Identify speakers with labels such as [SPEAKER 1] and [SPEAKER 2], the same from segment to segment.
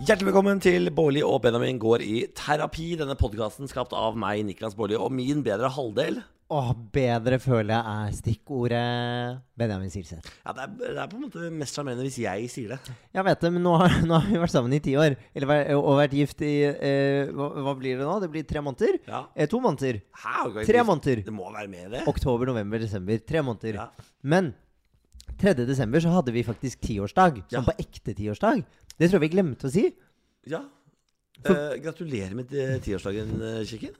[SPEAKER 1] Hjertelig velkommen til Bårli og Benjamin går i terapi. Denne podkasten skapt av meg, Niklas Bårli, og min bedre halvdel.
[SPEAKER 2] Åh, bedre føler jeg er stikkordet Benjamin Silseth.
[SPEAKER 1] Ja, det, er, det er på en måte mest sjarmerende hvis jeg sier det.
[SPEAKER 2] Jeg vet det, men nå har, nå har vi vært sammen i ti år. Eller, væ- og vært gift i eh, hva, hva blir det nå? Det blir tre måneder?
[SPEAKER 1] Ja.
[SPEAKER 2] Eh, to måneder.
[SPEAKER 1] Hæ, ok,
[SPEAKER 2] Tre måneder.
[SPEAKER 1] Det må være med det.
[SPEAKER 2] Oktober, november, desember. Tre måneder.
[SPEAKER 1] Ja.
[SPEAKER 2] Men 3. desember så hadde vi faktisk tiårsdag.
[SPEAKER 1] Ja.
[SPEAKER 2] Sånn på ekte tiårsdag. Det tror jeg vi glemte å si.
[SPEAKER 1] Ja. Eh, gratulerer med eh, tiårsdagen, eh, Kikken.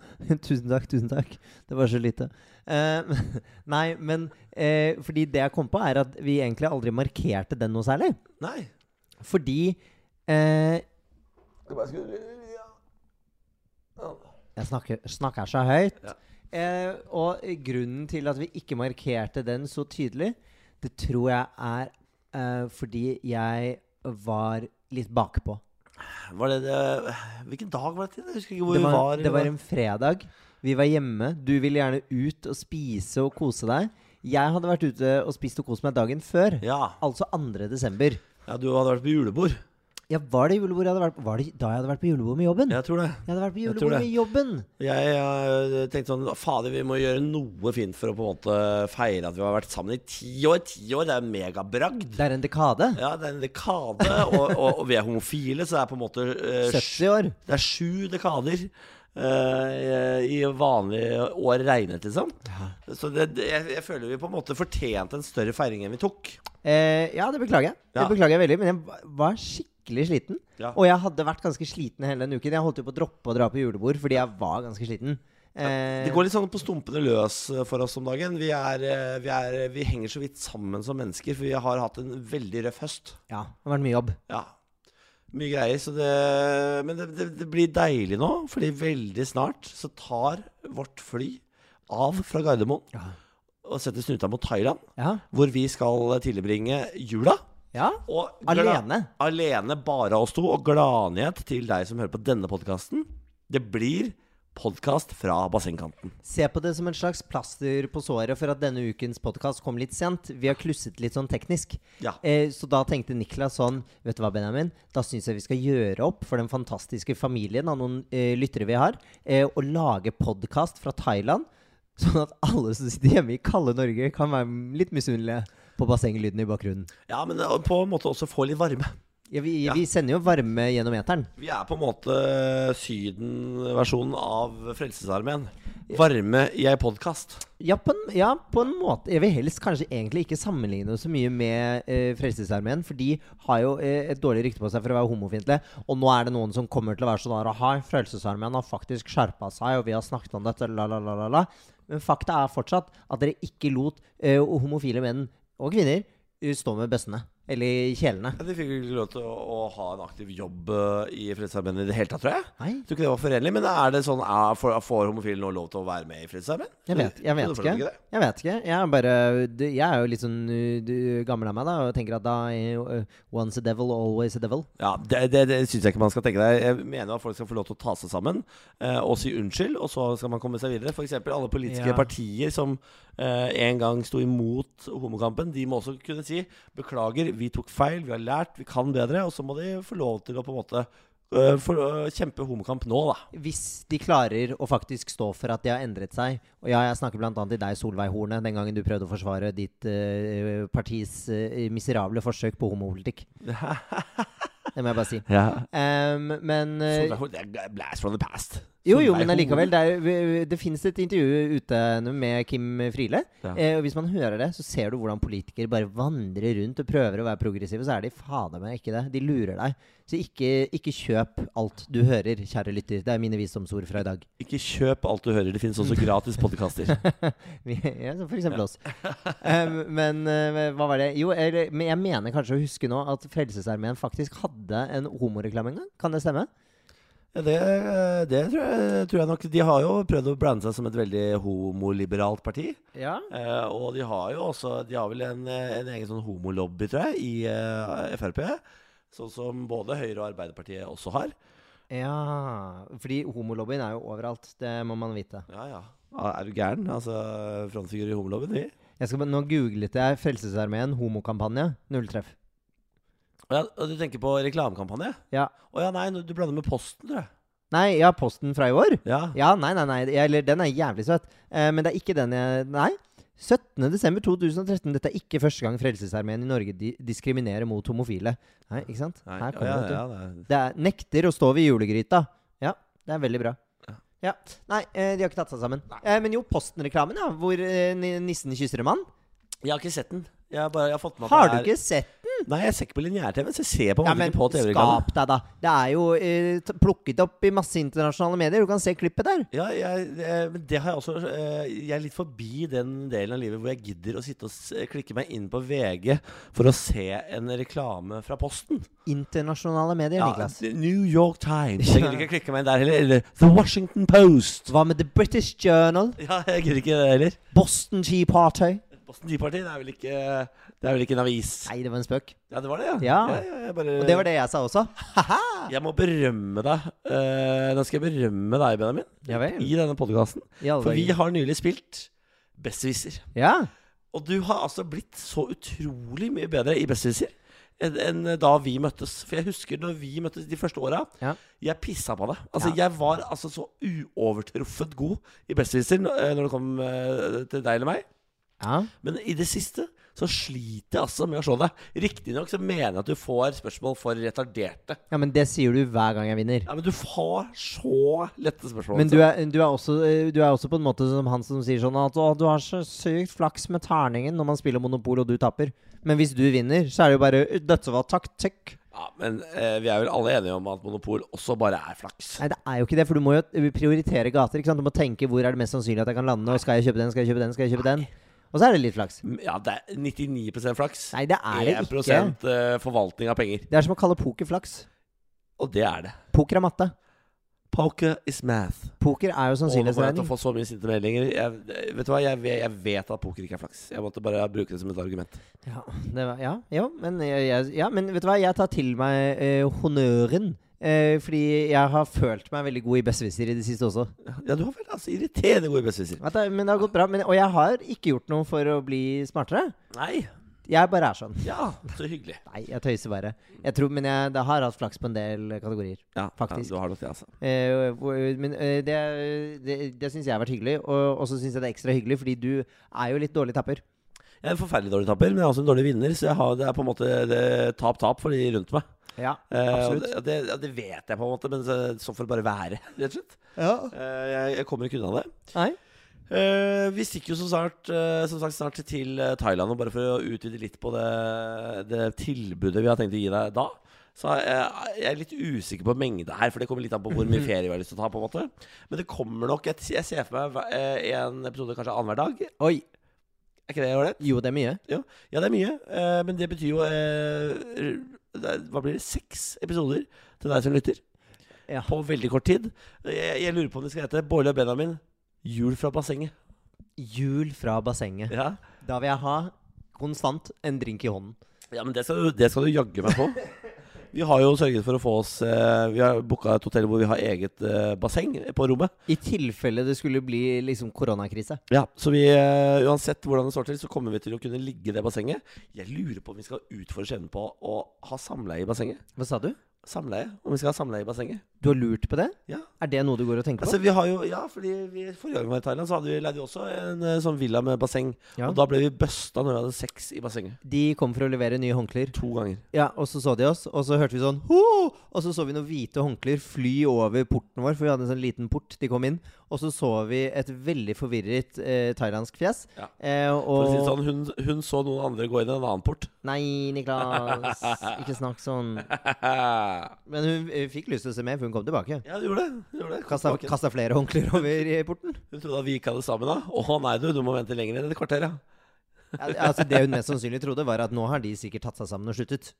[SPEAKER 2] tusen takk, tusen takk. Det var så lite. Eh, nei, men eh, fordi det jeg kom på, er at vi egentlig aldri markerte den noe særlig.
[SPEAKER 1] Nei.
[SPEAKER 2] Fordi eh,
[SPEAKER 1] Ja.
[SPEAKER 2] Jeg snakker, snakker så høyt.
[SPEAKER 1] Ja.
[SPEAKER 2] Eh, og grunnen til at vi ikke markerte den så tydelig, det tror jeg er eh, fordi jeg var litt bakpå.
[SPEAKER 1] Var det, det Hvilken dag var det til? Jeg husker ikke hvor
[SPEAKER 2] Det
[SPEAKER 1] vi
[SPEAKER 2] var,
[SPEAKER 1] var.
[SPEAKER 2] det var en fredag. Vi var hjemme. Du ville gjerne ut og spise og kose deg. Jeg hadde vært ute og spist og kost meg dagen før.
[SPEAKER 1] ja.
[SPEAKER 2] Altså 2. desember.
[SPEAKER 1] ja, du hadde vært på julebord.
[SPEAKER 2] Ja, var det julebord jeg hadde vært på? Var det da jeg hadde vært på julebord med jobben?
[SPEAKER 1] Jeg tror det.
[SPEAKER 2] Jeg hadde vært på
[SPEAKER 1] Jeg tror
[SPEAKER 2] julebord
[SPEAKER 1] det.
[SPEAKER 2] med jobben!
[SPEAKER 1] Jeg eh, tenkte sånn Fader, vi må gjøre noe fint for å på en måte feire at vi har vært sammen i ti år. Ti år, det er en megabragd.
[SPEAKER 2] Det er en dekade.
[SPEAKER 1] Ja, det er en dekade, og, og, og vi er homofile, så det er på en måte eh,
[SPEAKER 2] 70 år.
[SPEAKER 1] Det er sju dekader eh, i vanlige år regnet, liksom. Så det, det, jeg, jeg føler vi på en måte fortjente en større feiring enn vi tok.
[SPEAKER 2] Eh, ja, det beklager jeg. Det
[SPEAKER 1] Ja.
[SPEAKER 2] beklager jeg veldig, men jeg va- var skikkelig sliten.
[SPEAKER 1] Ja.
[SPEAKER 2] Og jeg hadde vært ganske sliten hele den uken. Jeg holdt jo på å droppe å dra på julebord fordi jeg var ganske sliten. Eh,
[SPEAKER 1] Det går litt sånn på stumpene løs eh, for oss om dagen. Vi, er, eh, vi, er, vi henger så vidt sammen som mennesker, for vi har hatt en veldig røff høst.
[SPEAKER 2] Ja, det har vært mye jobb.
[SPEAKER 1] Ja. Mye greier. Så det, men det, det, det blir deilig nå, fordi veldig snart så tar vårt fly av fra Gardermoen
[SPEAKER 2] Ja.
[SPEAKER 1] og setter snuta mot Thailand,
[SPEAKER 2] Ja.
[SPEAKER 1] hvor vi skal tilbringe jula.
[SPEAKER 2] ja.
[SPEAKER 1] Og
[SPEAKER 2] Alene.
[SPEAKER 1] alene, bare oss to. Og gladnyhet til deg som hører på denne podkasten. Det blir podkast fra bassengkanten.
[SPEAKER 2] Se på det som en slags plaster på såret for at denne ukens podkast kom litt sent. Vi har klusset litt sånn teknisk.
[SPEAKER 1] Ja.
[SPEAKER 2] Eh, så da tenkte Niklas sånn Vet du hva, Benjamin? Da syns jeg vi skal gjøre opp for den fantastiske familien av noen eh, lyttere vi har, eh, og lage podkast fra Thailand. Sånn at alle som sitter hjemme i kalde Norge, kan være litt misunnelige på bassenglyden i bakgrunnen.
[SPEAKER 1] ja, men eh, på en måte også få litt varme.
[SPEAKER 2] Ja, vi,
[SPEAKER 1] Ja.
[SPEAKER 2] vi sender jo varme gjennom eteren.
[SPEAKER 1] Vi er på en måte Syden-versjonen av Frelsesarmeen. Varme i ei podkast.
[SPEAKER 2] Ja på, en, ja, på en måte. Jeg vil helst kanskje egentlig ikke sammenligne oss så mye med eh, Frelsesarmeen, for de har jo eh, et dårlig rykte på seg for å være homofiendtlige. Og nå er det noen som kommer til å være sånn her Aha, Frelsesarmeen har faktisk skjerpa seg, og vi har snakket om dette, la, la, la, la, la. Men fakta er fortsatt at dere ikke lot eh, homofile menn og kvinner eh, stå med bøssene. Eller kjelene.
[SPEAKER 1] Ja, De fikk jo ikke lov til å, å ha en aktiv jobb eh, i Frelsesarmeen i det hele tatt, tror jeg.
[SPEAKER 2] Nei,
[SPEAKER 1] Jeg tror ikke det var forenlig, men er det sånn, er, får, får homofile nå lov til å være med i Frelsesarmeen?
[SPEAKER 2] jeg vet, jeg
[SPEAKER 1] Du
[SPEAKER 2] vet
[SPEAKER 1] føler
[SPEAKER 2] ikke.
[SPEAKER 1] ikke det?
[SPEAKER 2] Jeg vet ikke. Jeg er, bare, du, jeg er jo litt sånn uh, du, gammel av meg da, og tenker at da er jo, uh, Once a devil, always a devil.
[SPEAKER 1] Ja, det, det, det syns jeg ikke man skal tenke deg. Jeg mener at folk skal få lov til å ta seg sammen eh, og si unnskyld, og så skal man komme seg videre. F.eks. alle politiske
[SPEAKER 2] Ja.
[SPEAKER 1] partier som eh, en gang sto imot homokampen, de må også kunne si beklager, vi tok feil, vi har lært, vi kan bedre. Og så må de få lov til å på en måte eh, få, eh, kjempe homokamp nå, da.
[SPEAKER 2] Hvis de klarer å faktisk stå for at de har endret seg Og ja, jeg snakker bl.a. til deg, Solveig Horne, den gangen du prøvde å forsvare ditt eh, partis eh, miserable forsøk på homopolitikk. Det må jeg bare si.
[SPEAKER 1] Ja.
[SPEAKER 2] Ehm, men eh,
[SPEAKER 1] det er blast from the past.
[SPEAKER 2] Jo, jo,
[SPEAKER 1] Solveig
[SPEAKER 2] men allikevel.
[SPEAKER 1] Horne.
[SPEAKER 2] Det, er, jo- eh, det finnes et intervju ute nå med Kim Friele.
[SPEAKER 1] Ja.
[SPEAKER 2] Eh, og hvis man hører det, så ser du hvordan politikere bare vandrer rundt og prøver å være progressive, så er de fader meg ikke det. De lurer deg. Så ikke, ikke kjøp alt du hører, kjære lytter. Det er mine visdomsord fra i dag.
[SPEAKER 1] Ikke kjøp alt du hører. Det finnes også gratis podkaster.
[SPEAKER 2] Vi- ja, så for eksempel oss. Em, men eh, hva var det Jo, eller, men jeg mener kanskje å huske nå at Frelsesarmeen faktisk hadde en homoreklame en gang. Kan det stemme?
[SPEAKER 1] Ja, det, eh, det tror, jeg, tror jeg nok. De har jo prøvd å blande seg som et veldig homoliberalt parti.
[SPEAKER 2] Ja.
[SPEAKER 1] Eh, og de har jo også De har vel en, eh, en egen sånn homolobby, tror jeg, i eh, Frp. Sånn som både Høyre og Arbeiderpartiet også har.
[SPEAKER 2] ja. Fordi homolobbyen er jo overalt. Det må man vite.
[SPEAKER 1] Ja, ja. Ja, Er du gæren? Altså, Frontfigurer i homolobbyen, vi.
[SPEAKER 2] Jeg skal, bare- nå googlet jeg Frelsesarmeen homokampanje. Null treff.
[SPEAKER 1] Å ja, og du tenker på reklamekampanje?
[SPEAKER 2] Ja.
[SPEAKER 1] Å ja, nei, nå- du blander med Posten, tror jeg.
[SPEAKER 2] Nei, ja, posten fra i år.
[SPEAKER 1] Ja.
[SPEAKER 2] Ja, nei, nei, nei. jeg- Eller den er jævlig søt. Eh, men det er ikke den jeg Nei. 17.12.2013. Dette er ikke første gang Frelsesarmeen i Norge di diskriminerer mot homofile. Nei, ikke sant?
[SPEAKER 1] Nei,
[SPEAKER 2] Her
[SPEAKER 1] å
[SPEAKER 2] kommer
[SPEAKER 1] ja,
[SPEAKER 2] det, vet du.
[SPEAKER 1] ja, det.
[SPEAKER 2] Det er nekter å stå ved julegryta. Ja, det er veldig bra.
[SPEAKER 1] Ja.
[SPEAKER 2] Ja. Nei, eh, de har ikke tatt seg sammen. Eh, men jo, Posten-reklamen, ja. Hvor eh, ni- nissen kysser en mann.
[SPEAKER 1] er- Jeg har ikke sett den. Jeg har, bare, jeg har fått med meg at
[SPEAKER 2] Har
[SPEAKER 1] det
[SPEAKER 2] du
[SPEAKER 1] er-
[SPEAKER 2] ikke sett
[SPEAKER 1] Nei, jeg ser ikke på lineær-TV, så jeg ser på en
[SPEAKER 2] Ja,
[SPEAKER 1] måte
[SPEAKER 2] men
[SPEAKER 1] ikke på TV-reklame.
[SPEAKER 2] skap deg, da. Det er jo eh, t- plukket opp i masse internasjonale medier. Du kan se klippet der.
[SPEAKER 1] Ja, jeg, eh, men det har jeg også eh, Jeg er litt forbi den delen av livet hvor jeg gidder å sitte og s- eh, klikke meg inn på VG for å se en reklame fra Posten.
[SPEAKER 2] Internasjonale medier,
[SPEAKER 1] Ja,
[SPEAKER 2] Niklas.
[SPEAKER 1] New York Times. Jeg gidder ikke klikke meg inn der heller. Eller The Washington Post.
[SPEAKER 2] Hva med The British Journal?
[SPEAKER 1] Ja, jeg gidder ikke det heller.
[SPEAKER 2] Boston Tea Party?
[SPEAKER 1] Boston Tea Party, det er vel ikke Det er vel ikke en avis?
[SPEAKER 2] Nei, det var en spøk.
[SPEAKER 1] Ja, det var det, ja.
[SPEAKER 2] Ja.
[SPEAKER 1] jeg bare,
[SPEAKER 2] Og det var det jeg sa også. Haha!
[SPEAKER 1] Jeg må berømme deg. Eh, da skal jeg berømme deg, Benjamin,
[SPEAKER 2] Ja vel.
[SPEAKER 1] i denne podkasten.
[SPEAKER 2] I alle
[SPEAKER 1] For vi
[SPEAKER 2] dager.
[SPEAKER 1] har nylig spilt Besserwisser.
[SPEAKER 2] Ja.
[SPEAKER 1] Og du har altså blitt så utrolig mye bedre i Besserwisser enn enn da vi møttes. For jeg husker når vi møttes de første åra.
[SPEAKER 2] Ja.
[SPEAKER 1] Jeg pissa på deg. Altså, Jeg var altså så uovertruffet god i Besserwisser når eh, når det kom eh, til deg eller meg.
[SPEAKER 2] ja.
[SPEAKER 1] Men i det siste så sliter jeg altså med å slå deg. Riktignok så mener jeg at du får spørsmål for retarderte.
[SPEAKER 2] Ja, men det sier du hver gang jeg vinner.
[SPEAKER 1] Ja, Men du får så lette spørsmål. altså.
[SPEAKER 2] Men du er, du, er også, eh, du er også på en måte som han som sier sånn at å, du har så sykt flaks med terningen når man spiller Monopol og du taper. Men hvis du vinner, så er det jo bare Dette var taktikk.
[SPEAKER 1] Ja, Men eh, vi er vel alle enige om at monopol også bare er flaks.
[SPEAKER 2] Nei, det er jo ikke det, for du må jo prioritere gater. ikke sant? Du må tenke hvor er det mest sannsynlig at jeg kan lande, og skal jeg kjøpe den, skal jeg kjøpe den, skal jeg kjøpe den? Og så er det litt flaks.
[SPEAKER 1] Ja, det er 99 flaks.
[SPEAKER 2] Nei, det er det ikke.
[SPEAKER 1] 1 eh, forvaltning av penger.
[SPEAKER 2] Det er som å kalle poker flaks.
[SPEAKER 1] Og det er det.
[SPEAKER 2] Poker er matte.
[SPEAKER 1] Poker is math.
[SPEAKER 2] Poker er jo
[SPEAKER 1] Og nå får jeg til å
[SPEAKER 2] sannsynlighetsregning.
[SPEAKER 1] få så mye sinte meldinger. Jeg, vet du hva, jeg, ve- jeg vet at poker ikke er flaks. Jeg måtte bare bruke det som et argument.
[SPEAKER 2] Ja, det var, ja, jo, men, jeg, jeg- ja, men vet du hva, jeg tar til meg eh, honnøren. eh, fordi jeg har følt meg veldig god i besserwisser i det siste også.
[SPEAKER 1] Ja, du har vel altså irriterende gode besserwisser.
[SPEAKER 2] At det, men det har gått bra. Men, og jeg har ikke gjort noe for å bli smartere.
[SPEAKER 1] Nei.
[SPEAKER 2] Jeg bare er sånn.
[SPEAKER 1] Ja, så hyggelig.
[SPEAKER 2] Nei, jeg tøyser bare. Jeg tror, men jeg det har hatt flaks på en del kategorier.
[SPEAKER 1] Ja, Ja,
[SPEAKER 2] Faktisk.
[SPEAKER 1] du har nok det, altså.
[SPEAKER 2] Eh, hvor- men eh, det, det, det syns jeg har vært hyggelig. Og, og så syns jeg det er ekstra hyggelig, fordi du er jo litt dårlig tapper.
[SPEAKER 1] Jeg er en forferdelig dårlig tapper, men jeg er også en dårlig vinner, så jeg har, det er på en måte tap-tap for de rundt meg.
[SPEAKER 2] Ja,
[SPEAKER 1] Eh, og
[SPEAKER 2] absolutt.
[SPEAKER 1] det, og det, ja, det vet jeg på en måte, men så, så får det bare være, rett og slett.
[SPEAKER 2] Ja.
[SPEAKER 1] Eh, jeg, jeg kommer ikke unna det.
[SPEAKER 2] Nei.
[SPEAKER 1] Eh, vi stikker jo som, snart, eh, som sagt snart til eh, Thailand, og bare for å utvide litt på det, det tilbudet vi har tenkt å gi deg da, så er jeg, jeg er litt usikker på mengde her, for det kommer litt an på hvor mye ferie vi har lyst til å ta. på en måte Men det kommer nok et, Jeg ser for meg hver- eh, en episode kanskje annenhver dag.
[SPEAKER 2] Oi.
[SPEAKER 1] Er ikke det ålreit?
[SPEAKER 2] Jo, det er mye.
[SPEAKER 1] Jo. Ja, det er mye, eh, men det betyr jo eh, det er, Hva blir det? Seks episoder til deg som lytter?
[SPEAKER 2] Ja.
[SPEAKER 1] På veldig kort tid. Jeg, jeg lurer på om det skal hete Bårli og Benjamin jul fra bassenget.
[SPEAKER 2] Jul fra bassenget.
[SPEAKER 1] Ja
[SPEAKER 2] Da vil jeg ha konstant en drink i hånden.
[SPEAKER 1] Ja, men det skal du, det skal du jaggu meg på. Vi har jo sørget for å få oss eh, Vi har booka et hotell hvor vi har eget eh, basseng på rommet.
[SPEAKER 2] I tilfelle det skulle bli liksom koronakrise.
[SPEAKER 1] Ja, Så vi, eh, uansett hvordan det står til, så kommer vi til å kunne ligge i det bassenget. Jeg lurer på om vi skal utfordre evnen på å ha samleie i bassenget.
[SPEAKER 2] Hva sa du?
[SPEAKER 1] Samleie? Om vi skal ha samleie i bassenget?
[SPEAKER 2] Du har lurt på det?
[SPEAKER 1] Ja.
[SPEAKER 2] Er det noe du går og tenker på?
[SPEAKER 1] Altså, vi har jo, ja, fordi vi, Forrige gang vi var i Thailand, så hadde vi leid jo også en eh, sånn villa med basseng.
[SPEAKER 2] Ja.
[SPEAKER 1] Og da ble vi busta når vi hadde sex i bassenget.
[SPEAKER 2] De kom for å levere nye håndklær.
[SPEAKER 1] To ganger.
[SPEAKER 2] Ja, og så så de oss, og så hørte vi sånn Ho! Og så så vi noen hvite håndklær fly over porten vår, for vi hadde en sånn liten port de kom inn. Og så så vi et veldig forvirret eh, thailandsk fjes.
[SPEAKER 1] Ja.
[SPEAKER 2] Eh,
[SPEAKER 1] For å
[SPEAKER 2] og
[SPEAKER 1] si det sånn, hun, hun så noen andre gå inn i en annen port.
[SPEAKER 2] Nei, Niklas, ikke snakk sånn.
[SPEAKER 1] ja,
[SPEAKER 2] Men hun eh, fikk lyst til å se mer, for hun kom tilbake.
[SPEAKER 1] du gjorde det. Du gjorde det. Kom
[SPEAKER 2] Kasta,
[SPEAKER 1] tilbake.
[SPEAKER 2] kasta flere håndklær over i porten.
[SPEAKER 1] Hun trodde at vi ikke hadde sammen da. Å nei, du, du må vente lenger enn et kvarter, ja.
[SPEAKER 2] Ja, altså, det hun mest sannsynlig trodde, var at nå har de sikkert tatt seg sammen og sluttet.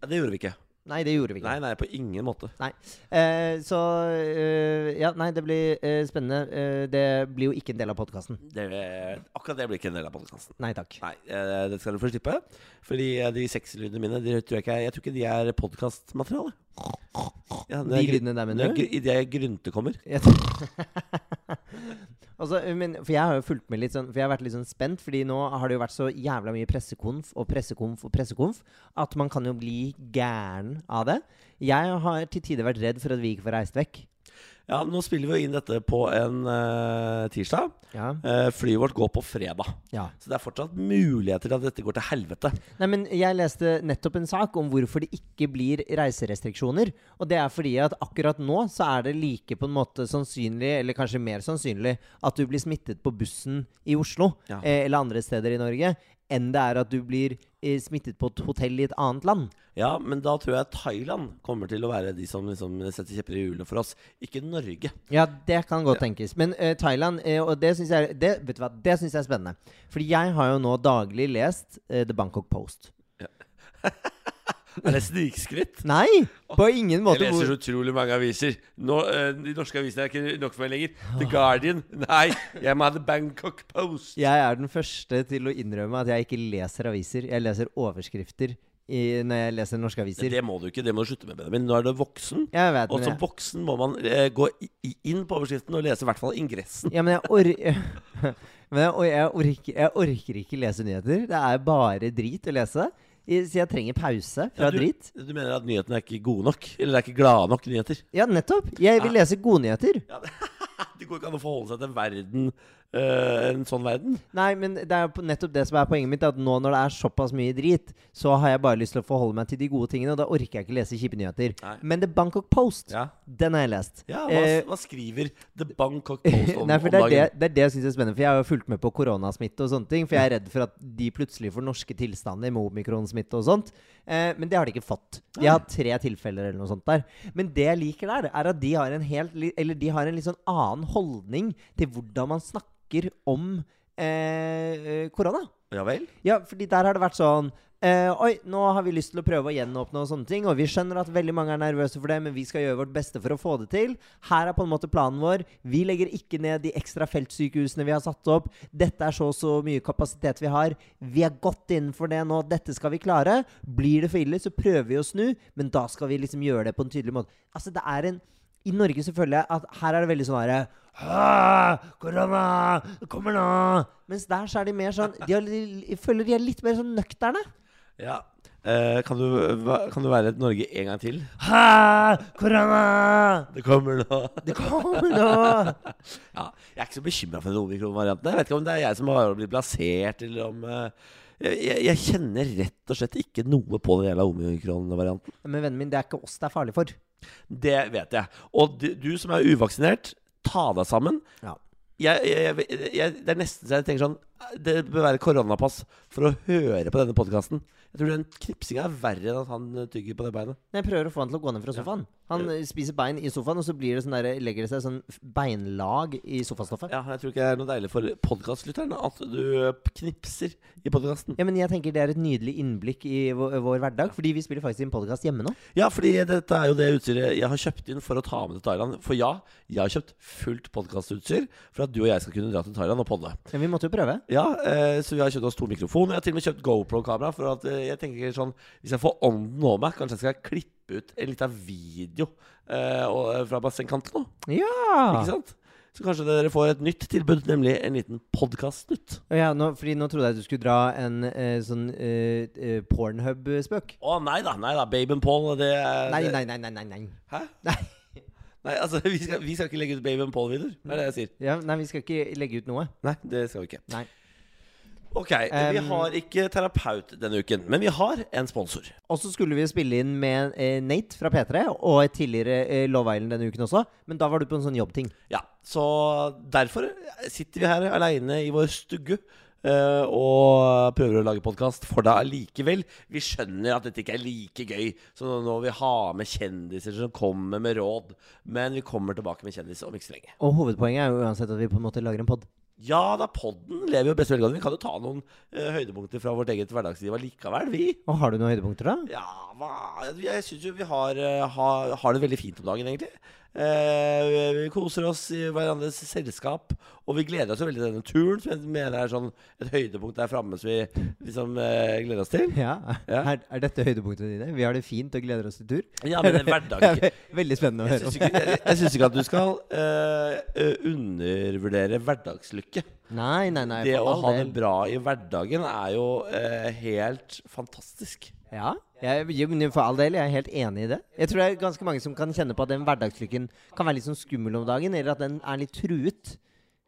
[SPEAKER 1] ja. Det gjorde vi ikke.
[SPEAKER 2] Nei, det gjorde vi ikke.
[SPEAKER 1] Nei, nei, på ingen måte.
[SPEAKER 2] Eh, så eh, Ja, nei, det blir eh, spennende. Eh, det blir jo ikke en del av podkasten.
[SPEAKER 1] Det, akkurat det blir ikke en del av podkasten.
[SPEAKER 2] Nei takk.
[SPEAKER 1] Nei, eh, det skal du få slippe. Fordi eh, de sexlydene mine, de tror jeg, ikke, er- jeg tror ikke de er podkastmateriale. Ja,
[SPEAKER 2] De lydene der, mener du?
[SPEAKER 1] Idet grynte kommer.
[SPEAKER 2] Jeg tror- altså, men, for jeg har jo fulgt med litt sånn For jeg har vært litt sånn spent, Fordi nå har det jo vært så jævla mye pressekonf og pressekonf og pressekonf at man kan jo bli gæren av det. Jeg har til tider vært redd for at vi ikke får reist vekk.
[SPEAKER 1] Ja, nå spiller vi jo inn dette på en eh, tirsdag.
[SPEAKER 2] Ja.
[SPEAKER 1] Eh, flyet vårt går på fredag.
[SPEAKER 2] ja.
[SPEAKER 1] Så det er fortsatt muligheter til at dette går til helvete.
[SPEAKER 2] Nei, men Jeg leste nettopp en sak om hvorfor det ikke blir reiserestriksjoner. Og det er fordi at akkurat nå så er det like på en måte sannsynlig, eller kanskje mer sannsynlig, at du blir smittet på bussen i Oslo
[SPEAKER 1] Ja.
[SPEAKER 2] eh, eller andre steder i Norge, enn det er at du blir eh, smittet på et hotell i et annet land.
[SPEAKER 1] Ja, men da tror jeg Thailand kommer til å være de som liksom setter kjepper i hjulene for oss. Ikke Norge.
[SPEAKER 2] Ja, det kan godt tenkes. Men eh, Thailand eh, Og det syns jeg, det, vet du hva, det synes jeg er spennende. Fordi jeg har jo nå daglig lest eh, The Bangkok Post.
[SPEAKER 1] Er det snikskritt?
[SPEAKER 2] Nei! På ingen måte. hvor-
[SPEAKER 1] så utrolig mange aviser. Nå, eh, de norske avisene er ikke nok for meg lenger. The Guardian. Nei, jeg må ha The Bangkok Post.
[SPEAKER 2] Jeg er den første til å innrømme at jeg ikke leser aviser. Jeg leser overskrifter i, når jeg leser norske aviser.
[SPEAKER 1] Det må du ikke. Det må du slutte med, Benjamin. Nå er du voksen.
[SPEAKER 2] Jeg vet,
[SPEAKER 1] Og
[SPEAKER 2] men
[SPEAKER 1] som
[SPEAKER 2] jeg,
[SPEAKER 1] voksen må man eh, gå i- i- inn på overskriften og lese i hvert fall ingressen.
[SPEAKER 2] ja, men jeg, or men jeg, og jeg, orker, jeg orker ikke lese nyheter. Det er bare drit å lese. I- Så jeg trenger pause fra
[SPEAKER 1] Ja, du,
[SPEAKER 2] drit.
[SPEAKER 1] du mener at nyhetene er ikke gode nok? Eller det er ikke glade nok nyheter?
[SPEAKER 2] Ja, nettopp. Jeg
[SPEAKER 1] Ah.
[SPEAKER 2] vil lese gode nyheter.
[SPEAKER 1] Det går ikke an å forholde seg til verden, eh, en sånn verden.
[SPEAKER 2] Nei, men det er jo på- nettopp det som er poenget mitt. At nå når det er såpass mye drit, så har jeg bare lyst til å forholde meg til de gode tingene. Og da orker jeg ikke lese kjipe nyheter.
[SPEAKER 1] Nei.
[SPEAKER 2] Men The Bangkok Post,
[SPEAKER 1] Ja.
[SPEAKER 2] den har jeg lest.
[SPEAKER 1] Ja, hva,
[SPEAKER 2] Eh,
[SPEAKER 1] hva skriver The Bangkok Post om,
[SPEAKER 2] Nei, for
[SPEAKER 1] om
[SPEAKER 2] det er
[SPEAKER 1] dagen?
[SPEAKER 2] det, det er det jeg syns er spennende. For jeg har jo fulgt med på koronasmitte og sånne ting. For jeg er redd for at de plutselig får norske tilstander med omikronsmitte og sånt. Eh, men det har de ikke fått. De har hatt tre tilfeller eller noe sånt der. Men det jeg liker der, er at de har en helt li- Eller de har en litt sånn annen holdning til hvordan man snakker om eh, eh, korona.
[SPEAKER 1] Ja vel?
[SPEAKER 2] Ja, fordi der har det vært sånn eh, Oi, nå har vi lyst til å prøve å gjenåpne og sånne ting. Og vi skjønner at veldig mange er nervøse for det, men vi skal gjøre vårt beste for å få det til. Her er på en måte planen vår. Vi legger ikke ned de ekstra feltsykehusene vi har satt opp. Dette er så og så mye kapasitet vi har. Vi er godt innenfor det nå. Dette skal vi klare. Blir det for ille, så prøver vi å snu, men da skal vi liksom gjøre det på en tydelig måte. Altså, det er en i Norge så føler jeg at her er det veldig sånn herre «Hæ? Ah, Korona! det Kommer nå! Mens der så er de mer sånn De har, jeg føler de er litt mer sånn nøkterne.
[SPEAKER 1] Ja. Eh, kan, du, hva- kan du være et Norge en gang til?
[SPEAKER 2] Hæ? Korona!
[SPEAKER 1] Det kommer nå.
[SPEAKER 2] Det kommer nå!
[SPEAKER 1] Ja, jeg er ikke så bekymra for den omikron-varianten. Jeg vet ikke om det er jeg som har blitt plassert, eller om eh, jeg, jeg- jeg kjenner rett og slett ikke noe på den jævla omikron-varianten.
[SPEAKER 2] Men vennen min, det er ikke oss det er farlig for.
[SPEAKER 1] Det vet jeg. Og du, du som er uvaksinert, ta deg sammen.
[SPEAKER 2] Ja.
[SPEAKER 1] Jeg, jeg, jeg, jeg, det er nesten så jeg tenker sånn Det bør være koronapass for å høre på denne podkasten. Jeg tror den knipsinga er verre enn at han eh, tygger på det beinet.
[SPEAKER 2] Når jeg prøver å få han til å gå ned fra sofaen. Han eh, spiser bein i sofaen, og så blir det sånn der, legger det seg sånn f- beinlag i sofastoffet. Ja.
[SPEAKER 1] Ja, jeg tror ikke det er noe deilig for podkastlytteren at du eh, knipser i podkasten.
[SPEAKER 2] men jeg tenker det er et nydelig innblikk i vår, vår hverdag, fordi vi spiller faktisk inn podkast hjemme nå.
[SPEAKER 1] Ja, fordi dette er jo det utstyret jeg har kjøpt inn for å ta med til Thailand. For ja, jeg har kjøpt fullt podkastutstyr for at du og jeg skal kunne dra til Thailand og podde.
[SPEAKER 2] Men vi måtte jo prøve.
[SPEAKER 1] Ja, eh, så vi har kjøpt oss to mikrofoner. Jeg har til og med kjøpt GoPro-kamera. For at eh, jeg tenker sånn Hvis jeg får ånden over meg, kanskje jeg skal klippe ut en liten video eh, og- fra bassengkanten nå.
[SPEAKER 2] Ja!
[SPEAKER 1] Ikke sant? Så kanskje dere får et nytt tilbud, nemlig en liten podkast-snutt.
[SPEAKER 2] Å Ja, nå, fordi nå trodde jeg du skulle dra en eh, sånn eh, eh, Pornhub-spøk.
[SPEAKER 1] Å nei da, nei da. Babe and Paul, det er
[SPEAKER 2] Nei,
[SPEAKER 1] det-
[SPEAKER 2] nei, nei, nei, nei, nei.
[SPEAKER 1] Hæ?
[SPEAKER 2] Nei.
[SPEAKER 1] Nei, altså, vi skal, vi skal ikke legge ut Babe and Paul-videoer. Det er det jeg sier.
[SPEAKER 2] Ja, nei, vi skal ikke legge ut noe.
[SPEAKER 1] Nei, det skal vi ikke.
[SPEAKER 2] Nei.
[SPEAKER 1] Ok, vi
[SPEAKER 2] Um,
[SPEAKER 1] har ikke terapeut denne uken, men vi har en sponsor.
[SPEAKER 2] Og så skulle vi jo spille inn med eh, Nate fra P3, og et tidligere eh, Love Island denne uken også, men da var du på en sånn jobbting.
[SPEAKER 1] Ja, så derfor sitter vi her alene i vår stugge eh, og prøver å lage podkast for deg allikevel. Vi skjønner at dette ikke er like gøy som når vi har med kjendiser som kommer med råd. Men vi kommer tilbake med kjendiser om ikke så lenge.
[SPEAKER 2] Og hovedpoenget er jo uansett at vi på en måte lager en pod.
[SPEAKER 1] Ja da, podden lever jo best velgående. Vi kan jo ta noen eh, høydepunkter fra vårt eget hverdagsliv allikevel, vi.
[SPEAKER 2] Og har du noen høydepunkter, da?
[SPEAKER 1] Ja, hva Jeg syns jo vi har, eh, ha- har det veldig fint om dagen, egentlig. Eh, vi- vi koser oss i hverandres selskap, og vi gleder oss jo veldig til denne turen, som jeg mener er sånn et høydepunkt der framme som vi liksom eh, gleder oss til.
[SPEAKER 2] Ja.
[SPEAKER 1] Ja.
[SPEAKER 2] Er, er dette høydepunktene dine? Vi har det fint og gleder oss til tur.
[SPEAKER 1] Ja, men en hverdag
[SPEAKER 2] Veldig spennende å
[SPEAKER 1] Jeg
[SPEAKER 2] høre
[SPEAKER 1] syns
[SPEAKER 2] om.
[SPEAKER 1] ikke, jeg, jeg syns ikke at du skal eh, eh, undervurdere hverdagslykke.
[SPEAKER 2] Nei, nei, nei.
[SPEAKER 1] Det
[SPEAKER 2] for
[SPEAKER 1] å
[SPEAKER 2] all
[SPEAKER 1] ha
[SPEAKER 2] del.
[SPEAKER 1] det bra i hverdagen er jo eh, helt fantastisk.
[SPEAKER 2] Ja, jeg, jo, men for all del, jeg er helt enig i det. Jeg tror det er ganske mange som kan kjenne på at den hverdagslykken kan være litt sånn skummel om dagen, eller at den er litt truet.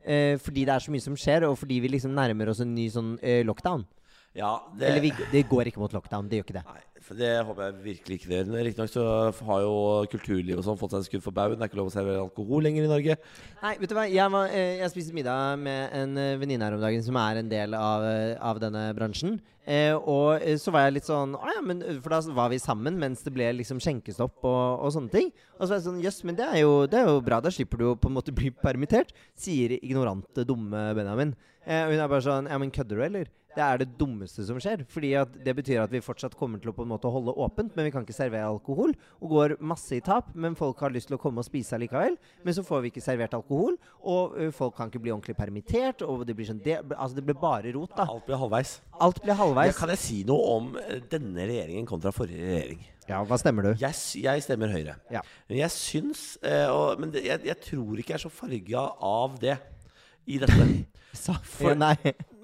[SPEAKER 2] Eh, fordi det er så mye som skjer, og fordi vi liksom nærmer oss en ny sånn eh, lockdown.
[SPEAKER 1] Ja, det,
[SPEAKER 2] Eller vi, det går ikke mot lockdown, det gjør ikke det.
[SPEAKER 1] Nei, for det håper jeg virkelig ikke det gjør. Riktignok så har jo kulturlivet og sånn fått seg en skudd for baugen. Det er ikke lov å servere alkohol lenger i Norge.
[SPEAKER 2] Nei, vet du hva, jeg, var, eh, jeg spiste middag med en eh, venninne her om dagen som er en del av, eh, av denne bransjen. Eh, og eh, så var jeg litt sånn Å ja, men eh, For da var vi sammen mens det ble liksom skjenkestopp og, og sånne ting. Og så var jeg sånn Jøss, men det er, jo, det er jo bra. Da slipper du jo på en måte bli permittert. Sier ignorante, dumme Benjamin. Eh, og hun er bare sånn Ja, men kødder du, eller? Det er det dummeste som skjer. Fordi at det betyr at vi fortsatt kommer til å på en måte holde åpent, men vi kan ikke servere alkohol. Og går masse i tap, men folk har lyst til å komme og spise allikevel. Men så får vi ikke servert alkohol, og ø, folk kan ikke bli ordentlig permittert. Og det blir sånn Det, altså det blir bare rot, da.
[SPEAKER 1] Alt blir halvveis.
[SPEAKER 2] Alt blir
[SPEAKER 1] Ja,
[SPEAKER 2] halvveis.
[SPEAKER 1] kan jeg si noe om eh, denne regjeringen kontra forrige regjering?
[SPEAKER 2] Ja, hva stemmer du?
[SPEAKER 1] Jeg, s- jeg stemmer Høyre.
[SPEAKER 2] Ja.
[SPEAKER 1] Men jeg syns eh, og, Men det, jeg, jeg tror ikke jeg er så farga av det i dette.
[SPEAKER 2] Sa
[SPEAKER 1] For-
[SPEAKER 2] for, Nei.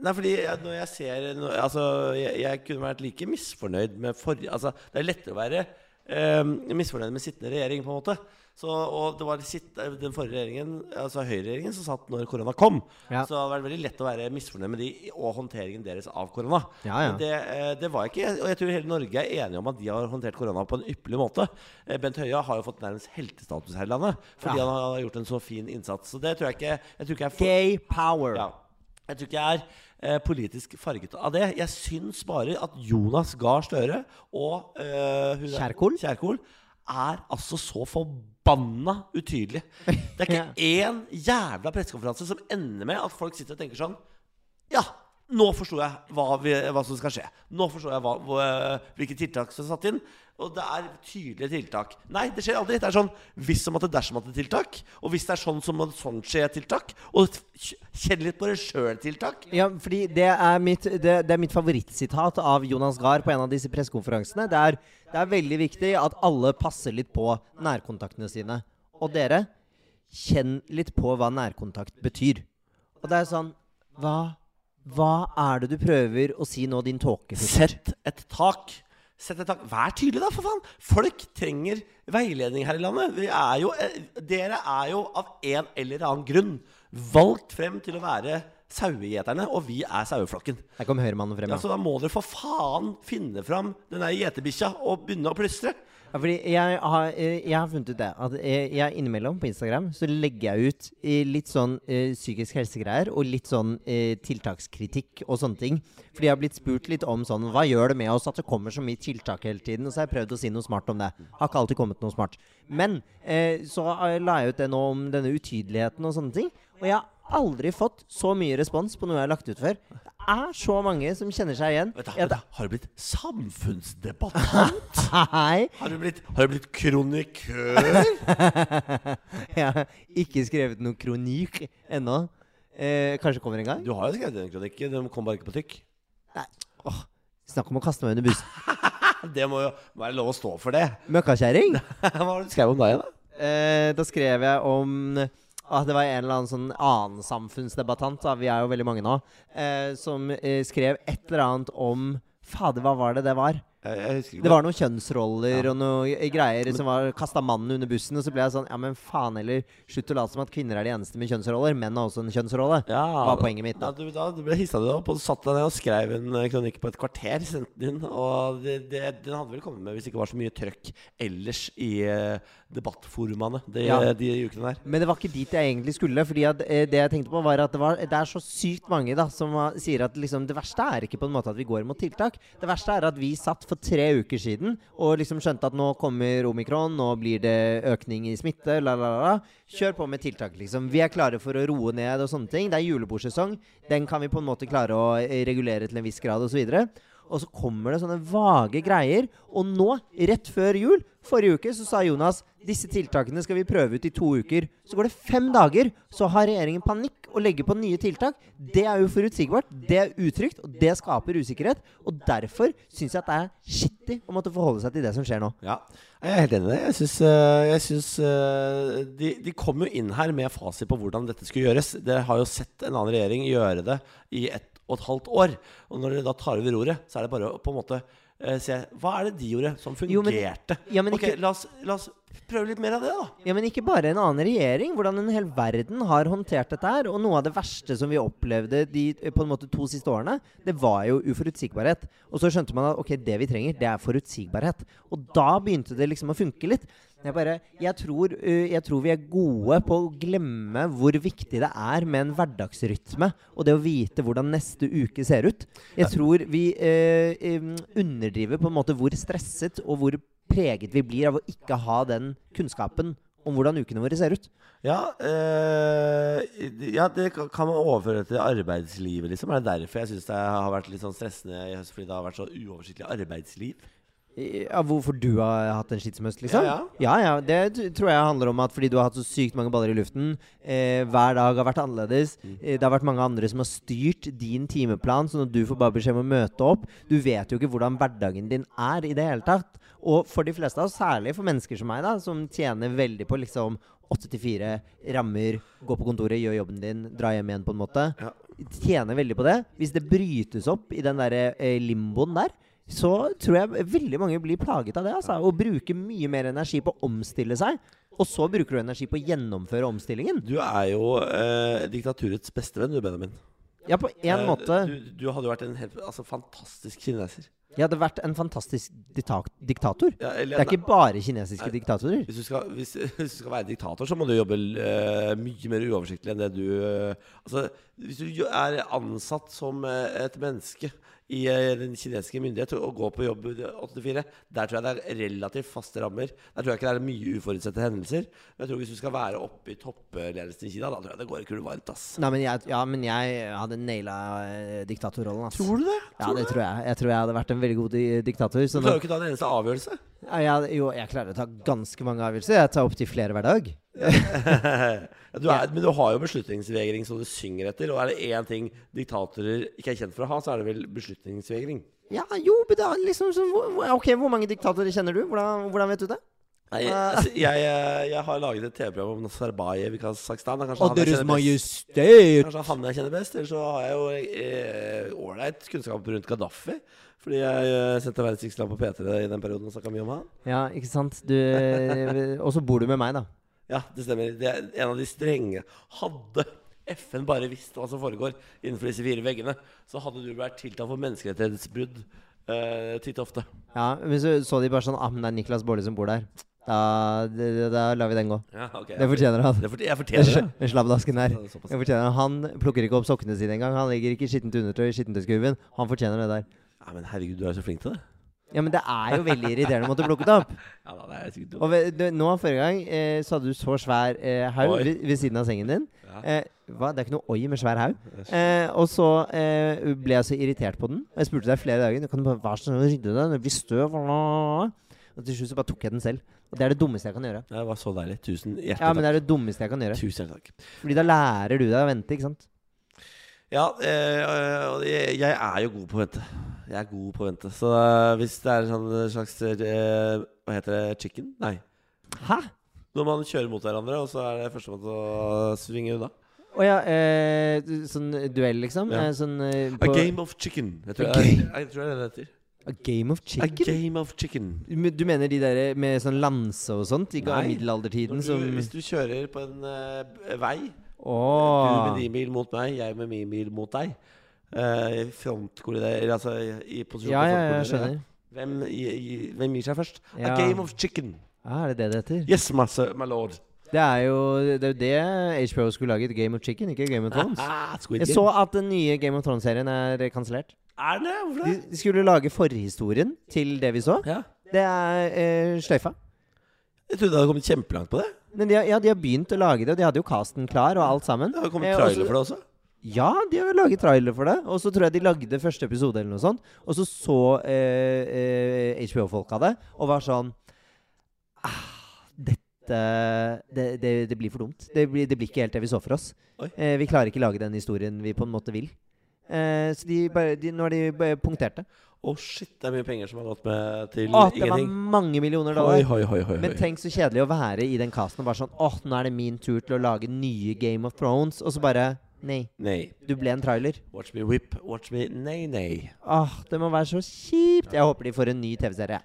[SPEAKER 1] Nei, fordi jeg, når jeg ser når, Altså, jeg, jeg kunne vært like misfornøyd med forrige Altså, det er lettere å være eh, misfornøyd med sittende regjering, på en måte. Så, og det var sitt, den forrige regjeringen, altså høyreregjeringen, som satt når korona kom.
[SPEAKER 2] Ja.
[SPEAKER 1] Så det hadde vært veldig lett å være misfornøyd med de og håndteringen deres av korona.
[SPEAKER 2] Ja, ja.
[SPEAKER 1] Men Det, eh, det var ikke Og jeg tror hele Norge er enige om at de har håndtert korona på en ypperlig måte. Eh, Bent Høie har jo fått nærmest heltestatus her i landet fordi
[SPEAKER 2] Ja.
[SPEAKER 1] han har gjort en så fin innsats. Så det tror jeg ikke Jeg tror ikke jeg er for-
[SPEAKER 2] Gay power.
[SPEAKER 1] ja. Jeg tror ikke jeg er eh, politisk farget av det. Jeg syns bare at Jonas Gahr Støre og eh, hun-
[SPEAKER 2] Kjerkol?
[SPEAKER 1] Kjerkol er altså så forbanna utydelig. Det er ikke én jævla pressekonferanse som ender med at folk sitter og tenker sånn Ja, nå forsto jeg hva, vi, hva som skal skje. Nå forstår jeg hva, hva, hvilke tiltak som er satt inn. Og det er tydelige tiltak. Nei, det skjer aldri. Det er sånn hvis som at det dersom at det er tiltak. Og hvis det er sånn som at sånn skjer tiltak. Og kj- kjenn litt på det sjøl-tiltak.
[SPEAKER 2] Ja, fordi det er mitt, det, det er mitt favorittsitat av Jonas Gahr på en av disse pressekonferansene. Det er, det er veldig viktig at alle passer litt på nærkontaktene sine. Og dere, kjenn litt på hva nærkontakt betyr. Og det er sånn Hva, hva er det du prøver å si nå, din tåkefull?
[SPEAKER 1] Sett et tak. Sett et tak. Vær tydelig, da, for faen! Folk trenger veiledning her i landet. Vi er jo, eh, dere er jo av en eller annen grunn valgt frem til å være sauegjeterne, og vi er saueflokken.
[SPEAKER 2] Der kom Høyremannen frem.
[SPEAKER 1] Ja,
[SPEAKER 2] Ja.
[SPEAKER 1] så da må dere for faen finne fram den der gjeterbikkja og begynne å plystre.
[SPEAKER 2] Ja, fordi jeg har, eh, jeg har funnet ut det. At jeg, jeg innimellom på Instagram så legger jeg ut eh, litt sånn eh, psykisk helsegreier og litt sånn eh, tiltakskritikk og sånne ting. Fordi jeg har blitt spurt litt om sånn Hva gjør det med oss at det kommer så mye tiltak hele tiden? Og så har jeg prøvd å si noe smart om det. Har ikke alltid kommet noe smart. Men eh, så eh, la jeg ut det nå om denne utydeligheten og sånne ting. Og jeg har aldri fått så mye respons på noe jeg har lagt ut før. Det er så mange som kjenner seg igjen.
[SPEAKER 1] Vet du,
[SPEAKER 2] Ja,
[SPEAKER 1] vet du, har du blitt samfunnsdebattant?
[SPEAKER 2] Hei!
[SPEAKER 1] Har du blitt, har du blitt kronikør?
[SPEAKER 2] Jeg har ikke skrevet noen kronikk ennå. Eh, kanskje kommer en gang?
[SPEAKER 1] Du har jo skrevet en kronikk, den kom bare ikke på trykk.
[SPEAKER 2] Nei. Åh, snakk om å kaste meg under bussen.
[SPEAKER 1] Det må jo være lov å stå for det.
[SPEAKER 2] Møkkakjerring!
[SPEAKER 1] Hva har du skrevet om deg, da?
[SPEAKER 2] Eh, da skrev jeg om at det var en eller annen sånn annen samfunnsdebattant, da, vi er jo veldig mange nå, eh, som eh, skrev et eller annet om Fader, hva var det det var?
[SPEAKER 1] Jeg, jeg husker ikke.
[SPEAKER 2] Det var noen kjønnsroller og noen greier som var kasta mannen under bussen. Og så ble jeg sånn Ja, men faen heller. Slutt å late som at kvinner er de eneste med kjønnsroller. Menn har også en kjønnsrolle.
[SPEAKER 1] ja,
[SPEAKER 2] var poenget mitt, da.
[SPEAKER 1] Ja, du, da du ble hissa du deg opp og satte deg ned og skrev en eh, kronikk på et kvarter. Sendte den inn, og det, det, den hadde vel kommet med hvis det ikke var så mye trøkk ellers i eh, debattforumaene de,
[SPEAKER 2] Ja.
[SPEAKER 1] de ukene der.
[SPEAKER 2] Men det var ikke dit jeg egentlig skulle. Fordi at, eh, det jeg tenkte på var at det, var, det er så sykt mange da som var- sier at liksom, det verste er ikke på en måte at vi går mot tiltak. Det verste er at vi satt for tre uker siden og liksom skjønte at nå kommer omikron, nå blir det økning i smitte, la, la, la. la. Kjør på med tiltak, liksom. Vi er klare for å roe ned og sånne ting. Det er julebordsesong. Den kan vi på en måte klare å eh, regulere til en viss grad, osv. Og, så videre. Og så kommer det sånne vage greier. Og nå, rett før jul, forrige uke, så sa Jonas disse tiltakene skal vi prøve ut i to uker. Så går det fem dager, så har regjeringen panikk og legger på nye tiltak. Det er uforutsigbart, det er utrygt, og det skaper usikkerhet. Og derfor syns jeg at det er skittig å måtte forholde seg til det som skjer nå.
[SPEAKER 1] Ja, jeg er helt enig i det. Jeg syns, øh, jeg syns øh, de, de kom jo inn her med fasit på hvordan dette skulle gjøres. Dere har jo sett en annen regjering gjøre det i ett og et halvt år. Og når dere da tar over roret, så er det bare å på en måte øh, se Hva er det de gjorde som
[SPEAKER 2] Jo, men-
[SPEAKER 1] fungerte?
[SPEAKER 2] ja, men
[SPEAKER 1] ok,
[SPEAKER 2] ikke-
[SPEAKER 1] la, oss, la oss prøve litt mer av det, da.
[SPEAKER 2] Ja, men ikke bare en annen regjering. Hvordan en hel verden har håndtert dette her. Og noe av det verste som vi opplevde de eh, på en måte to siste årene, det var jo uforutsigbarhet. Og så skjønte man at ok, det vi trenger, det er forutsigbarhet. Og da begynte det liksom å funke litt. Jeg, bare, jeg, tror, eh, jeg tror vi er gode på å glemme hvor viktig det er med en hverdagsrytme. Og det å vite hvordan neste uke ser ut. Jeg tror vi eh, em, underdriver på en måte hvor stresset og hvor preget vi blir av å ikke ha den kunnskapen om hvordan ukene våre ser ut.
[SPEAKER 1] Ja, eh, ja, det ka- kan man overføre til arbeidslivet, liksom. Er det derfor jeg syns det har vært litt sånn stressende i høst? Fordi det har vært så uoversiktlig arbeidsliv?
[SPEAKER 2] I- Ja, hvorfor du har hatt en slitsom høst, liksom?
[SPEAKER 1] Ja,
[SPEAKER 2] ja. ja, Det t- tror jeg handler om at fordi du har hatt så sykt mange baller i luften. Eh, hver dag har vært annerledes.
[SPEAKER 1] Mm.
[SPEAKER 2] Eh, det har vært mange andre som har styrt din timeplan, sånn at du får bare beskjed om å møte opp. Du vet jo ikke hvordan hverdagen din er i det hele tatt. Og for de fleste av oss, særlig for mennesker som meg, da, som tjener veldig på liksom åtte til fire rammer, gå på kontoret, gjør jobben din, dra hjem igjen, på en måte
[SPEAKER 1] Ja.
[SPEAKER 2] tjener veldig på det. Hvis det brytes opp i den der eh, limboen der, så tror jeg veldig mange blir plaget av det. altså, Og bruker mye mer energi på å omstille seg. Og så bruker du energi på å gjennomføre omstillingen.
[SPEAKER 1] Du er jo eh, diktaturets bestevenn, du, Benjamin.
[SPEAKER 2] Ja, på en
[SPEAKER 1] Eh,
[SPEAKER 2] måte.
[SPEAKER 1] Du, du hadde jo vært en helt, altså, fantastisk kineser.
[SPEAKER 2] Jeg hadde vært en fantastisk dita- diktator.
[SPEAKER 1] Ja,
[SPEAKER 2] Det
[SPEAKER 1] eller,
[SPEAKER 2] er ikke bare kinesiske
[SPEAKER 1] Nei.
[SPEAKER 2] diktatorer.
[SPEAKER 1] hvis, du skal, hvis, hvis du skal være diktator, så må du jobbe eh, mye mer uoversiktlig enn det du eh, Altså, hvis du jo er ansatt som eh, et menneske i eh, den kinesiske myndighet og går på jobb 84, der tror jeg det er relativt faste rammer. Der tror jeg ikke det er mye uforutsette hendelser. Men jeg tror hvis du skal være oppe i toppledelsen i Kina, da tror jeg det går kulvarmt, ass.
[SPEAKER 2] Nei, men jeg, ja, men jeg hadde naila eh, diktatorrollen, ass.
[SPEAKER 1] Tror du det?
[SPEAKER 2] Ja, det tror jeg. Jeg tror jeg hadde vært en veldig god di- diktator. Så
[SPEAKER 1] Du klarer
[SPEAKER 2] nå,
[SPEAKER 1] jo ikke å ta en eneste avgjørelse.
[SPEAKER 2] ja, jeg, jo, jeg klarer å ta ganske mange avgjørelser. Jeg tar opptil flere hver dag.
[SPEAKER 1] Ja, du er, men du har jo beslutningsvegring som du synger etter. Og er det én ting diktatorer ikke er kjent for å ha, så er det vel beslutningsvegring.
[SPEAKER 2] Ja, jo, men det er liksom så, hvor- hvor- Ok, Hvor mange diktatorer kjenner du? Hvordan, hvordan vet du det?
[SPEAKER 1] Nei, jeg, altså, jeg, eh, jeg har laget et TV-program om Nazarbayev i Kasakhstan. Det er Kanskje han, jeg kjenner best.
[SPEAKER 2] Majestet!
[SPEAKER 1] kanskje han jeg kjenner best. Eller så har jeg jo eh, ålreit kunnskap rundt Gaddafi. Fordi jeg eh, sendte Verdens rikeste land på P3 i den perioden og snakka mye om han.
[SPEAKER 2] Ja, ikke sant? Du, eh, og så bor du med meg, da.
[SPEAKER 1] Ja, det stemmer. Det er en av de strenge. Hadde FN bare visst hva som foregår innenfor disse fire veggene, så hadde du vært tiltalt for menneskerettighetsbrudd eh, titt og ofte.
[SPEAKER 2] Ja, Men så så de bare sånn Ah, men det er Niklas Baarli som bor der. Da, da, da lar vi den gå.
[SPEAKER 1] Ja, ok.
[SPEAKER 2] Det fortjener han.
[SPEAKER 1] Det fortjener- jeg
[SPEAKER 2] Den
[SPEAKER 1] fortjener det.
[SPEAKER 2] sla- den slabdasken her.
[SPEAKER 1] det er såpass.
[SPEAKER 2] Den fortjener Han Han plukker ikke opp sokkene sine engang. Han legger ikke skittent undertøy i skittentøyskurven. Han fortjener det der.
[SPEAKER 1] Nei, men herregud, du er jo så flink til det.
[SPEAKER 2] Ja, men det er jo veldig irriterende å måtte plukke det opp.
[SPEAKER 1] Ja, da, det er sikkert
[SPEAKER 2] Og ved, du, nå forrige gang eh, så hadde du så svær eh, haug
[SPEAKER 1] Oi.
[SPEAKER 2] ved, ved siden av sengen din.
[SPEAKER 1] Ja.
[SPEAKER 2] Eh, hva? Det er ikke noe oi med svær haug. Eh, og så eh, ble jeg så irritert på den. Jeg spurte deg flere dager. Du kan du bare være så snill å rydde den. Det blir støv. bla, bla, bla. Og til slutt så bare tok jeg den selv. Og det er det dummeste jeg kan gjøre.
[SPEAKER 1] Det var så deilig. Tusen hjertelig
[SPEAKER 2] Ja, men
[SPEAKER 1] takk.
[SPEAKER 2] det er det dummeste jeg kan gjøre.
[SPEAKER 1] Tusen hjertelig takk.
[SPEAKER 2] Fordi da lærer du deg å vente, ikke sant?
[SPEAKER 1] Ja, eh, og jeg jeg er jo god på å vente. Jeg er god på å vente. Så eh, hvis det er sånn slags eh, Hva heter det? Chicken? Nei.
[SPEAKER 2] Hæ?
[SPEAKER 1] Når man kjører mot hverandre, og så er det førstemann til å svinge unna.
[SPEAKER 2] Å ja, eh, du- sånn duell, liksom?
[SPEAKER 1] Ja.
[SPEAKER 2] Eh, sånn eh,
[SPEAKER 1] A
[SPEAKER 2] på
[SPEAKER 1] game of chicken. Jeg tror,
[SPEAKER 2] A
[SPEAKER 1] jeg,
[SPEAKER 2] game-
[SPEAKER 1] jeg tror det er det det heter.
[SPEAKER 2] A game of
[SPEAKER 1] A
[SPEAKER 2] chicken?
[SPEAKER 1] game of chicken.
[SPEAKER 2] Men Du mener de der med sånn lanse og sånt? Ikke av
[SPEAKER 1] Nei.
[SPEAKER 2] middelaldertiden
[SPEAKER 1] Når
[SPEAKER 2] som
[SPEAKER 1] du, hvis du kjører på en eh, b- vei, du
[SPEAKER 2] Åh.
[SPEAKER 1] med din bil mot meg, jeg med min bil mot deg eh, Frontkolliderer, altså i i posisjon
[SPEAKER 2] Ja,
[SPEAKER 1] til
[SPEAKER 2] ja, ja, jeg
[SPEAKER 1] frontkolliderer.
[SPEAKER 2] skjønner.
[SPEAKER 1] Hvem, i, i, hvem gir seg først?
[SPEAKER 2] Ja.
[SPEAKER 1] A game of chicken.
[SPEAKER 2] Ah, er det det det heter?
[SPEAKER 1] Yes, my, sir, my lord.
[SPEAKER 2] Det er jo det, er jo det HBO skulle laget. Game of Chicken, ikke Game of Thrones.
[SPEAKER 1] Ah, Squid
[SPEAKER 2] Jeg
[SPEAKER 1] Game.
[SPEAKER 2] så at den nye Game of Thrones-serien er kansellert.
[SPEAKER 1] Er det? Hvorfor
[SPEAKER 2] De
[SPEAKER 1] det?
[SPEAKER 2] de skulle lage forhistorien til det vi så.
[SPEAKER 1] Ja.
[SPEAKER 2] Det er eh, sløyfa.
[SPEAKER 1] Jeg trodde det hadde kommet kjempelangt på det.
[SPEAKER 2] Men de har, ja, de har begynt å lage det, og de hadde jo casten klar og alt sammen.
[SPEAKER 1] Det har jo kommet
[SPEAKER 2] Eh, og så-
[SPEAKER 1] trailer for det også.
[SPEAKER 2] Ja, de har laget trailer for det. Og så tror jeg de lagde første episode, eller noe sånt. Og så så eh, eh, HBO-folka det, og var sånn ah, Dette det, det, det blir for dumt. Det blir, det blir ikke helt det vi så for oss.
[SPEAKER 1] Oi.
[SPEAKER 2] Eh, vi klarer ikke lage den historien vi på en måte vil. Eh, så de bare, de, nå har de bare punktert det.
[SPEAKER 1] Å, shit, det er mye penger som har gått med til
[SPEAKER 2] Å, det var
[SPEAKER 1] ingenting.
[SPEAKER 2] mange millioner
[SPEAKER 1] Hoi,
[SPEAKER 2] dollar.
[SPEAKER 1] hoi, hoi, hoi,
[SPEAKER 2] Men
[SPEAKER 1] hoi.
[SPEAKER 2] tenk så kjedelig å være i den casten og bare sånn Åh, nå er det min tur til å lage nye Game of Thrones. Og så bare Nei.
[SPEAKER 1] Nei.
[SPEAKER 2] Du ble en trailer.
[SPEAKER 1] Watch me whip, watch me nei, nei.
[SPEAKER 2] Åh, Ah, det må være så kjipt. Jeg håper de får en ny TV-serie.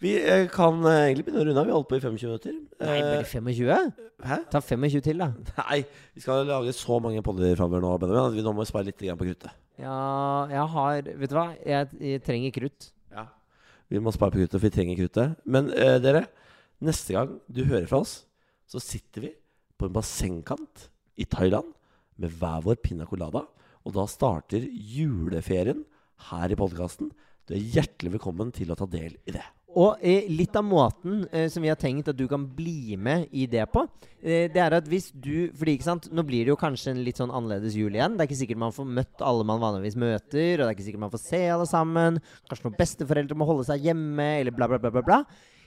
[SPEAKER 1] Vi eh, kan eh, egentlig begynne å runde av. Vi har holdt på i 25 minutter.
[SPEAKER 2] Nei, bare
[SPEAKER 1] Eh,
[SPEAKER 2] 25?
[SPEAKER 1] hæ?
[SPEAKER 2] Ta 25 til, da.
[SPEAKER 1] Nei, vi skal lage så mange podder framover nå, Benjamin, at vi nå må spare litt grann på kruttet.
[SPEAKER 2] Ja, jeg har Vet du hva? Jeg, jeg trenger krutt.
[SPEAKER 1] Ja. Vi må spare på kruttet, for vi trenger kruttet. Men eh, dere, neste gang du hører fra oss, så sitter vi på en bassengkant i Thailand med hver vår piña colada. Og da starter juleferien her i podkasten. Du er hjertelig velkommen til å ta del i det.
[SPEAKER 2] Og eh, litt av måten eh, som vi har tenkt at du kan bli med i det på, eh, det er at hvis du Fordi, ikke sant, nå blir det jo kanskje en litt sånn annerledes jul igjen. Det er ikke sikkert man får møtt alle man vanligvis møter, og det er ikke sikkert man får se alle sammen. Kanskje noen besteforeldre må holde seg hjemme, eller bla, bla, bla, bla. bla.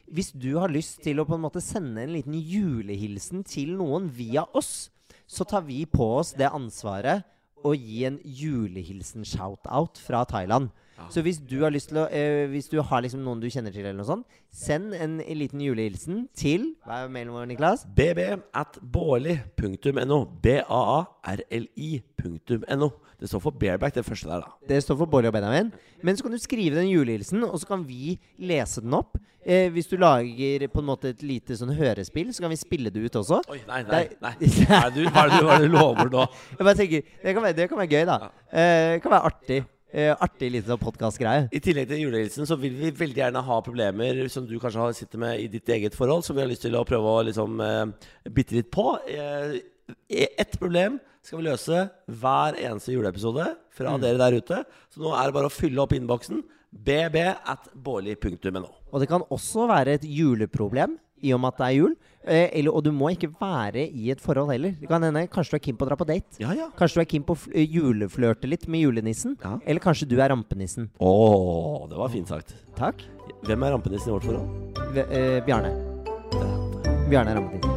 [SPEAKER 2] Hvis du har lyst til å på en måte sende en liten julehilsen til noen via oss, så tar vi på oss det ansvaret å gi en julehilsen-shout-out fra Thailand. Så hvis du har lyst til å, eh, hvis du har liksom noen du kjenner til, eller noe sånt, send en liten julehilsen til Hva er mailen vår, Niklas?
[SPEAKER 1] bb at baarli.no. B-a-a-r-l-i.no. Det står for bareback, det første der, da.
[SPEAKER 2] Det står for Bårli og Benjamin. Men så kan du skrive den julehilsen, og så kan vi lese den opp. Eh, hvis du lager på en måte et lite sånn hørespill, så kan vi spille det ut også.
[SPEAKER 1] Oi, nei, nei.
[SPEAKER 2] nei,
[SPEAKER 1] nei.
[SPEAKER 2] nei.
[SPEAKER 1] Hva er det du, hva er det du, hva er det du lover nå?
[SPEAKER 2] Jeg bare tenker, Det kan være, det kan være gøy, da. Eh, det kan være artig. Eh, artig liten sånn podkastgreie.
[SPEAKER 1] I tillegg til julehilsen så vil vi veldig gjerne ha problemer som du kanskje har sitter med i ditt eget forhold, som vi har lyst til å prøve å liksom eh, bitte litt på. Eh, ett problem skal vi løse hver eneste juleepisode fra dere der ute. Så nå er det bare å fylle opp innboksen. bb at baarli.no.
[SPEAKER 2] Og det kan også være et juleproblem, i og med at det er jul. Eh, eller, og du må ikke være i et forhold heller. Det kan hende kanskje du er keen på å dra på date.
[SPEAKER 1] Ja, ja.
[SPEAKER 2] Kanskje du er keen på å fl- eh, juleflørte litt med julenissen.
[SPEAKER 1] Ja.
[SPEAKER 2] Eller kanskje du er rampenissen.
[SPEAKER 1] Å, det var fint sagt.
[SPEAKER 2] Takk.
[SPEAKER 1] Hvem er rampenissen i vårt forhold?
[SPEAKER 2] V eh, Bjarne. Bjarne er rampenissen.